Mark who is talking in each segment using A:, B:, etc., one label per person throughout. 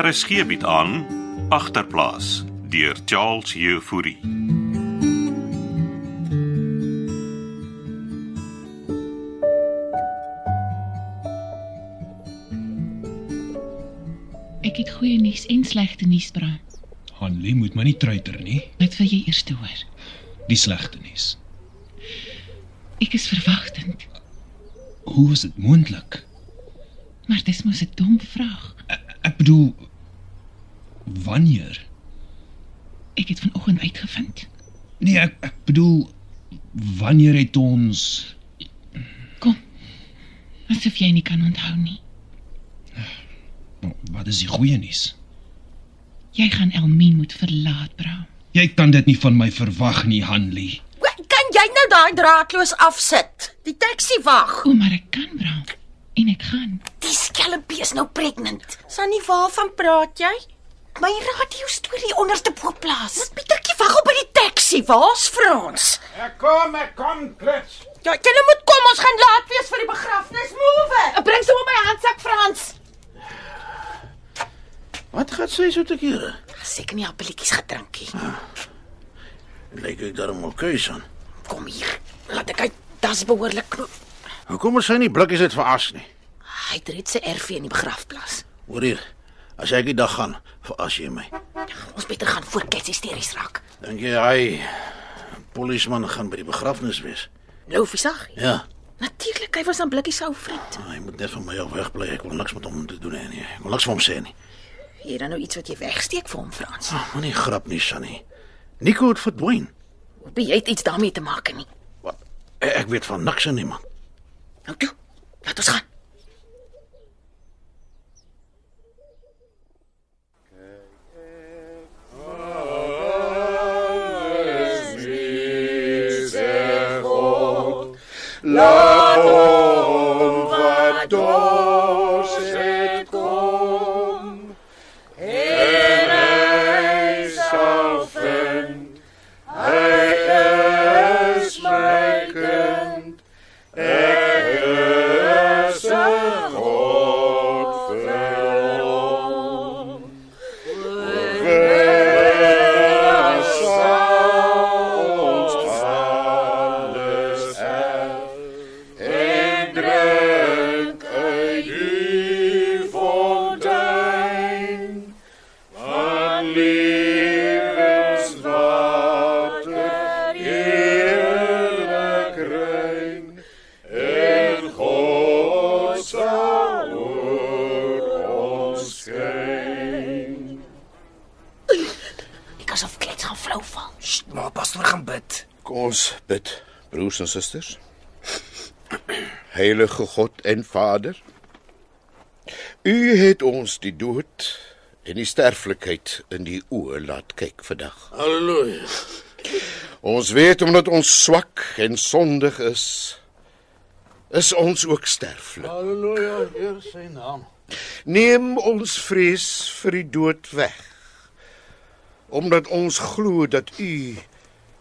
A: RSG bied aan agterplaas deur Charles Jefouri.
B: Ek het goeie nuus en slegte nuus, Bram.
C: Hanlie moet maar nie truiter nie,
B: Wat wil jy eers hoor?
C: die slegte nuus.
B: Ek is verwagtend,
C: Hoe is dit moontlik?
B: maar dis mos 'n dom vraag.
C: Ek bedoel wanneer?
B: Ek het vanoggend uitgevind.
C: Nee, ek ek bedoel wanneer het ons
B: Kom. Asof jy nie kan onthou nie.
C: nou, wat is die goeie nuus?
B: Jy gaan Elmien moet verlaat, Bram.
C: Jy kan dit nie van my verwag nie, Hanlie.
D: Kan jy nou daai draadloos afsit? Die taxi wag.
B: O, maar ek kan, Bram. En ek gaan.
D: Die skelmpie is nou pregnant. Sannie, waarvan praat jy? My radio storie onderste bo plaas. Moet Pietertjie wag op by die taxi. Waar's Frans?
E: Ek kom, ek kom, klits.
D: Ja, jy moet kom, ons gaan laat wees vir die begrafnis. Move. Bring sommer my handsak, Frans.
E: Wat gaan sy so te kere?
D: Seker nie appeltjies gedrinkie.
E: Lyk ek daarom oké son.
D: Kom hier. Laat ek uit. Das behoorlik knoop.
E: Hoekom is sy nie blikkies uit vir as nie?
D: Hy het reeds sy RV in die begrafplaas.
E: Hoor hier. As ek die dag gaan vir as jy my.
D: Ons beter gaan voor Kets hysteries raak.
E: Dink jy hy polisieman gaan by die begrafnis wees?
D: Nou visag.
E: Ja.
D: Natuurlik, hy was aan blikkie se ou vriend.
E: Hy moet net van my af wegbly. Ek wil niks met hom te doen hê nie. Ek wil niks van hom sê nie.
D: Hier dan nou iets wat jy wegsteek vir hom, Frans.
E: Ag, moenie grap nie, Sunny. Nico het verdwyn.
D: Hoop jy het iets daarmee te maak nie.
E: Wat? Ek Eh, weet van niks en niemand.
D: Nou toe. Laat ons gaan. Ek asof klets gaan flou val.
F: Maar pastoor gaan bid.
G: Kom ons bid, broers en susters. Heilige God en Vader, U het ons die dood en die sterflikheid in die oë laat kyk vandag.
E: Halleluja.
G: Ons weet omdat ons swak en sondig is, is ons ook sterflik.
E: Halleluja, Heer sy naam.
G: Neem ons vrees vir die dood weg. Omdat ons glo dat U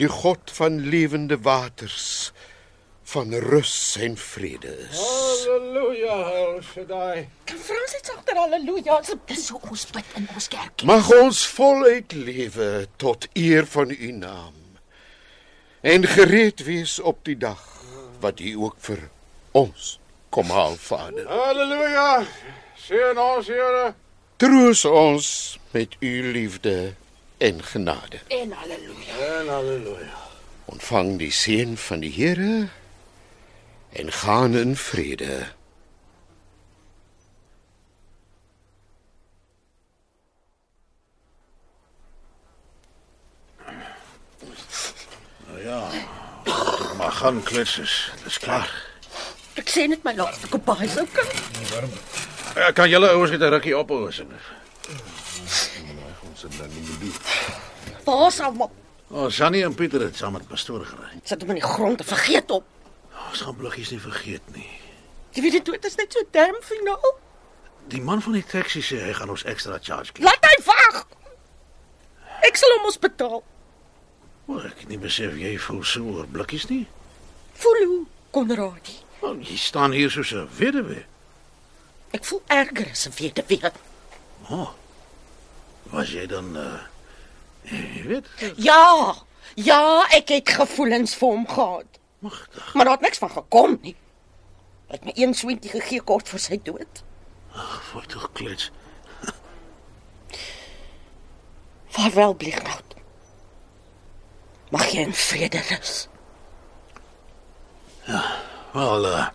G: die God van lewende waters van rus en vrede is.
E: Halleluja, El Shaddai.
D: Kan Frans dit agter haleluja asseblief? Dis hoe ons bid in ons kerkie.
G: Mag ons voluit lewe tot eer van U naam en gereed wees op die dag wat U ook vir ons kom haal, Vader.
E: Halleluja. Seën ons, Here.
G: Troos ons met U liefde en genade.
D: En haleluja.
E: En halleluja.
G: Ontvang die seën van die Here en gaan in vrede.
E: Maar gaan klitses. Dis klaar.
D: Ek sê net my laaste koppie is okay.
E: Ek Eh, kan julle ouens net 'n rukkie ophou asseblief.
D: Waar's almal?
E: Ons Oh, Sannie en Pieter het saam met pastoor gery. Oh,
D: Sit hom in die grond en vergeet hom.
E: Ons gaan blikkies nie vergeet nie.
D: Jy weet dit dood is net so darm finaal.
E: Die man van die taxi sê hy gaan ons ekstra charge gee.
D: Laat hy wag. Ek sal hom ons betaal.
E: Maar ek het nie besef jy voel so oor blikkies nie.
D: Voel hoe, Konradie.
E: Want jy staan hier soos 'n weduwee.
D: Ek voel erger as 'n weduwee.
E: O, oh, Was jij dan eh je weet,
D: Ja. Ja, ek het gevoelens vir hom gehad. Magtig. Maar daar het niks van gekom nie. Hy het my een swintjie gegee kort voor sy dood.
E: voor toch klets.
D: Vaarwel, Bliegnout. Mag jy in vrede rus.
E: Wel eh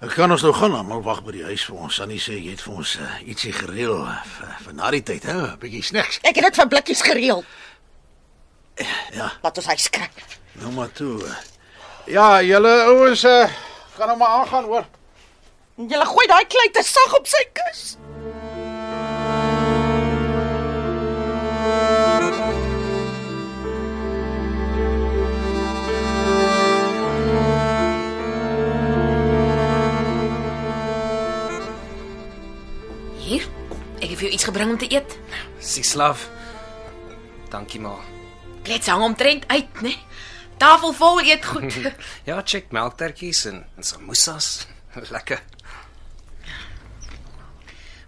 E: ek kan ons nou gaan, maar wag by die huis vir ons. Sannie sê jy het vir ons eh, ietsie gereël eh, vir- vir na die tyd, hè, 'n bietjie snacks.
D: Ek het dit vir blikkies gereël.
E: Ja.
D: Laat ons hy skryf.
E: Nou maar toe. eh. Ja, julle ouens eh gaan nou maar aangaan hoor.
D: Jy gooi daai klei te sag op sy kus.
H: Hier. Ek het vir jou iets gebring om te eet.
I: Sislav. Dankie ma.
H: Klets hang omtrent uit, né? Tafel vol eet goed.
I: Ja, check melktertjies en en samosas. Lekker.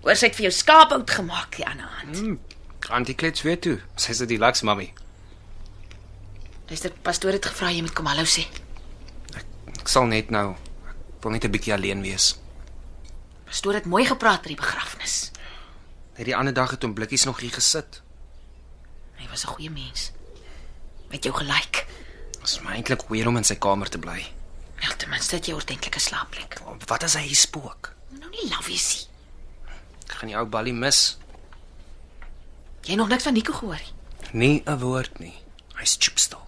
H: Hoor sy het vir jou skaaphout gemaak die ander hand.
I: Antie klets weer toe. Sy's 'n relax mami.
H: Luister, pastoor het gevra jy moet kom hallo sê.
I: Ek sal net nou ek wil net 'n bietjie alleen wees.
H: Pastoor het mooi gepraat oor die begrafnis.
I: Net die ander dag het hom blikkies nog hier gesit.
H: Hy was 'n goeie mens. Met jou gelyk.
I: Ons my eintlik weer om in sy kamer te bly.
H: Ja, ten minste het jy 'n ordentlike slaapplek.
I: Wat as hy hier spook?
H: Moet Nou nie laf wees nie.
I: Ek gaan die ou balie mis.
H: Jy het nog niks van Nico gehoor nie.
I: Nie 'n woord nie. Hy's chipstal.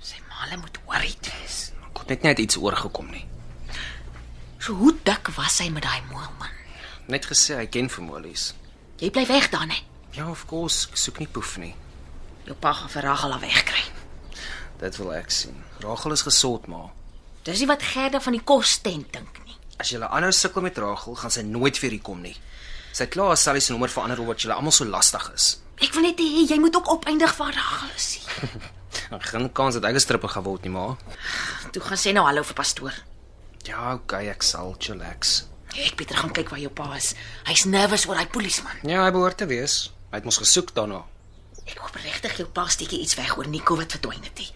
H: Sy maale moet worried wees.
I: Kon net net iets oorgekom nie.
H: So hoe dik was hy met daai moel man?
I: Net gesê hy ken vermoelies.
H: Jy bly weg dan hè.
I: Ja, of course, ek soek nie poef nie.
H: Jou pa gaan vir Ragel af wegkry.
I: Dit wil ek sien. Rachel is gesond maar.
H: Dis nie wat Gerda van die kos tent dink nie.
I: As jy aanhou sukkel met Rachel, gaan sy nooit weer hier kom nie. Sy kla haar Sally se nommer verander omdat jy almal so lastig is.
H: Ek wil net hê jy moet ook opeindig van Ragel is. nie.
I: Ek Nou, geen kans dat ek 'n stripper gaan word nie, maar.
H: Toe gaan sê nou hallo vir pastoor.
I: Ja, okay, ek sal chillax.
H: Ek Pieter gaan kyk waar jou pa is. Hy's nervus oor daai polisieman.
I: Ja, hy behoort te wees. Hy het mos gesoek daarna.
H: Ek hoop regtig jou pa steekie iets weg oor Nico wat verdwyn het. He.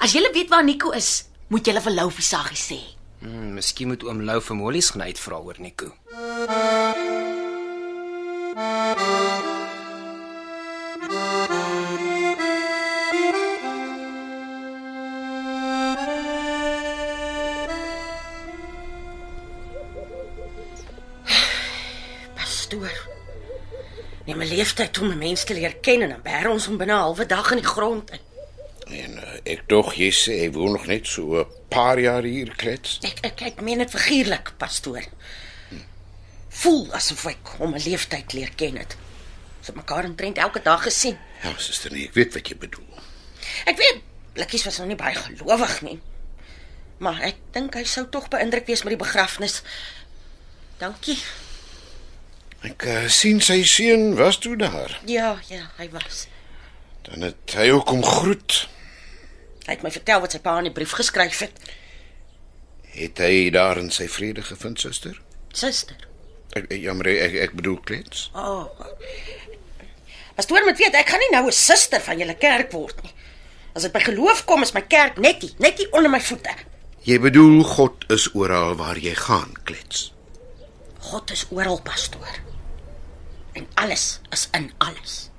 H: As jy weet waar Nico is, moet jy vir Loufie saggie sê.
I: Hmm, miskien moet oom Lou vir Molies gaan uitvra oor Nico.
D: Pastoor. Neem 'n leeftyd om 'n mens te leer ken en dan bær ons hom binne 'n halwe dag in die grond in.
G: En eh, ek dog jy sê hy woon nog net so 'n paar jaar hier klets.
D: Ek ek ek meen dit figuurlik, pastoor. Voel asof ek hom 'n leeftyd leer ken het. Ons het mekaar omtrent elke dag gesien.
G: Ja, suster, nee, ek weet wat jy bedoel.
D: Ek weet, Blikkies was nog nie baie gelowig nie. Maar ek dink hy sou tog beïndruk wees met die begrafnis. Dankie.
G: Ek uh, sien sy seun was toe daar.
D: Ja, ja, hy was.
G: Dan het hy ook hom groet.
D: Hy het my vertel wat sy pa in die brief geskryf het.
G: Het hy daar in sy vrede gevind, suster?
D: Suster.
G: Ek ek- jammer, ek ek bedoel klets.
D: Oh. Pastoor moet weet, ek gaan nie nou 'n suster van julle kerk word nie. As dit by geloof kom, is my kerk net hier, net hier onder my voete.
G: Jy bedoel God is oral waar jy gaan, klets.
D: God is oral, pastoor. En alles is in alles.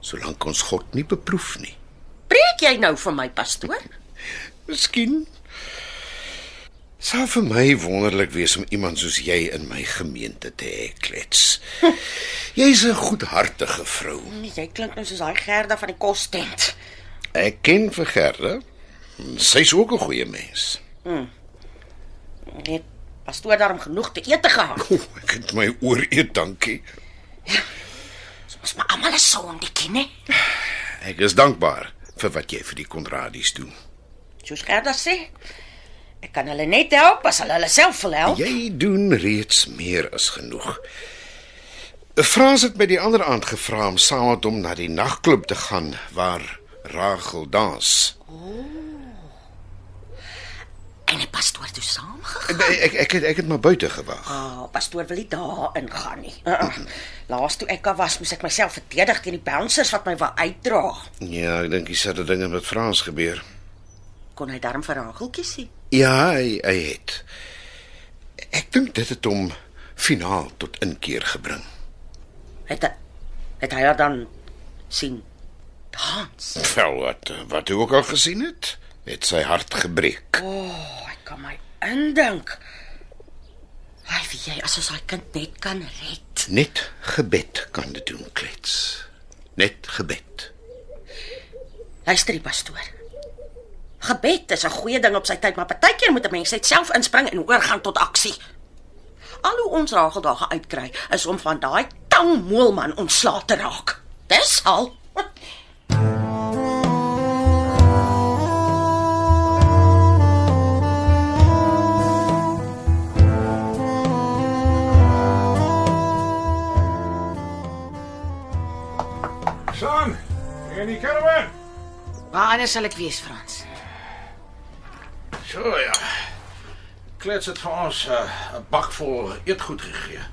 G: Solank ons God nie beproef nie.
D: Preek jy nou vir my, pastoor?
G: Miskien sou vir my wonderlik wees om iemand soos jy in my gemeente te hê, klets. Jy's 'n goedhartige vrou.
D: Nee, jy klink nou soos daai Gerda van die kostent.
G: Ek ken vir Gerda. Sy's ook 'n goeie mens.
D: Net pastoor daarom genoeg te eet te gehad.
G: O, ek het my oor eet, dankie.
D: Ons maar almal 'n sondetjie, né?
G: Ek is dankbaar vir wat jy vir die Konradies doen.
D: Soos Gerda sê, ek kan hulle net help as hulle hulle self wil help.
H: Ja,
G: Jy doen reeds meer as genoeg. Frans het my die ander aand gevra om saam met hom na die nagklub te gaan waar Rachel dans.
H: ja. En die pastoor toe saam gegaan.
G: Nee, ek ek het ek het maar buite gewag.
D: Ah, oh, pastoor wil nie daar ingaan nie. Uh -uh. Laas toe ek daar was, moes ek myself verdedig teen die bouncers wat my wou uitdra.
G: Ja, ek dink dis dat dinge met Frans gebeur.
D: Kon hy darm vir Rageltjie sien?
G: Ja, hy hy het. Ek dink dit het hom finaal tot inkeer gebring.
D: Het hy- het hy haar dan sien dans?
G: Wel wat wat hy ook al gesien het, het sy hart gebreek.
D: Oh, ek kan my indink.
H: Hy weet jy as ons daai kind net kan red.
G: Net gebed kan dit doen klets. Net gebed.
D: Luister die pastoor. Gebed is 'n goeie ding op sy tyd, maar partykeer moet 'n mens net self inspring en oorgaan tot aksie. Al hoe ons Ragel daar geuitkry is om van daai tangmoelman ontslae te raak. Dis al.
J: Son, en die caravan.
H: Waar anders sal ek wees, Frans?
E: So ja. Klets het vir ons eh, 'n bak vol eetgoed gegee.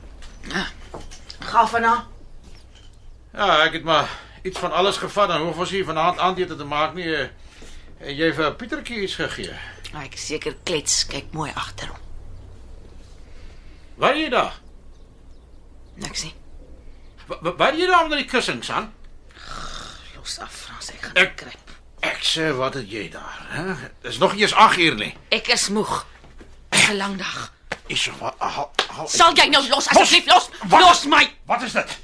H: Gaan vana.
E: Ja, ek het maar iets van alles gevat en hoef ons hier vanaand aandete te maak nie. eh, En jy vir Pietertjie iets gegee.
H: Nou, Ek is seker klets kyk mooi agter hom.
E: Waar jy daar?
H: Niks nie.
E: Wa- wa- Waar jy daar onder die kussings aan?
H: Los af, Frans, ek gaan
E: Ek-
H: kruip.
E: Ek sê wat het jy daar? Hè? Dis nog eers 8 uur nie.
H: Ek is moeg. 'n Lang dag.
E: Is so wat haal haal.
H: Sal jy nou los asseblief los? Los my.
E: Wat is dit?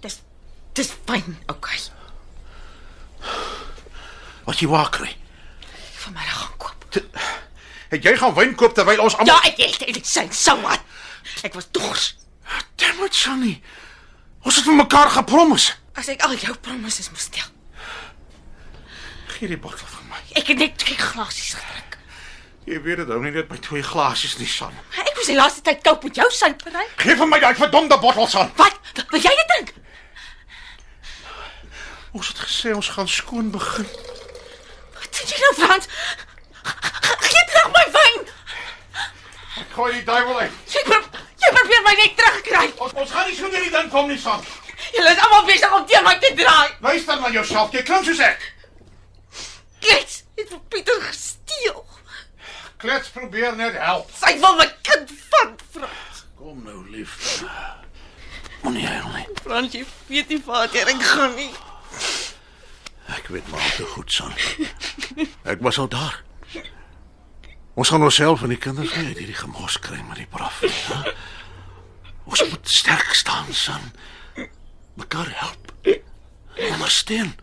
H: Dis dis fyn. Okay.
E: Wat jy waar kry?
H: Vanmiddag gaan koop.
E: Het jy gaan wyn koop terwyl ons
H: Ja,
E: almal
H: ek het dit sien. So wat? Ek was dors.
E: Damn it, Sunny. Ons het vir mekaar gepromise.
H: As ek al jou promises moes stel.
E: Gee die bottel vir my.
H: Ek het net twee glasies gedrink.
E: Jy weet dit hou nie net by twee glasies nie, Sunny.
H: Maar Ek was die laaste tyd koop met jou suipery.
E: Gee vir my daai verdomde bottel son.
H: Wat? Wil jy dit drink?
E: Ons het gesê ons gaan skoon begin.
H: Wat doen jy nou, Frans? Ge- Gee terug my wyn.
E: Ek gooi die duiwel uit.
H: Jy probeer jy probeer my net terugkry.
E: Ons, ons gaan nie so net die ding kom nie, son.
H: Julle is almal besig om teen my te draai.
E: Wys dan aan jouself, jy klink soos ek.
H: Klets het vir Pieter gesteel.
E: Klets probeer net help.
H: Sy wil my kind vat, Frans.
E: Kom nou, lief. Moenie huil nie.
H: Frans, jy weet nie waar ek gaan nie.
E: Ek weet maar al te goed, son. Ek was al daar. Ons gaan onsself en die kinders nie uit hierdie gemos kry met die braaf. nie, hè? Ons moet sterk staan, son. Mekaar help. Ondersteun.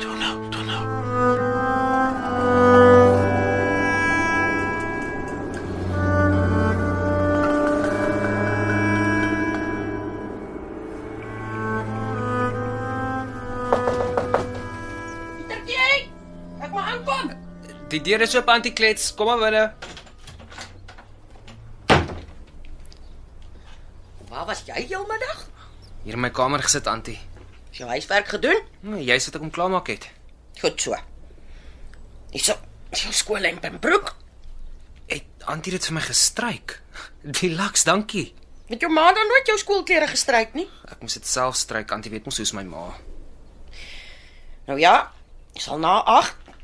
E: Toe nou, toe nou.
D: Pietertjie, ek moet aankom.
I: Die deur is oop, Antie Klets. Kom maar binne.
D: Waar was jy heelmiddag?
I: Hier in my kamer gesit, Antie.
D: Is jou huiswerk gedoen?
I: Nee, jy sit ek om klaarmaak het.
D: Goed so. Is so, is jou skool in Pembroek?
I: Het Antie dit vir my gestryk? Die laks, dankie.
D: Het jou ma dan nooit jou skoolklere gestryk nie?
I: Ek moes dit self stryk. Antie weet mos hoe's my ma.
D: Nou ja, is al na 8.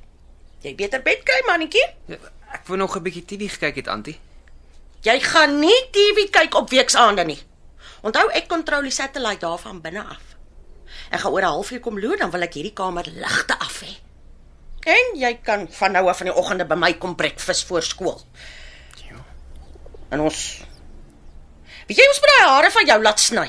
D: Jy beter bed kry, mannetjie.
I: Ja, Ek wou nog 'n bietjie TV gekyk het, Antie.
D: Jy gaan nie TV kyk op weksaande nie. Onthou ek kontrol die satellite daarvan binne af. Ek gaan oor 'n halfuur kom loer dan wil ek hierdie kamer ligte af hê. En jy kan van nou af van die oggende by my kom breakfast voor skool. Ja. En ons Wie jy ons met daai hare van jou laat sny.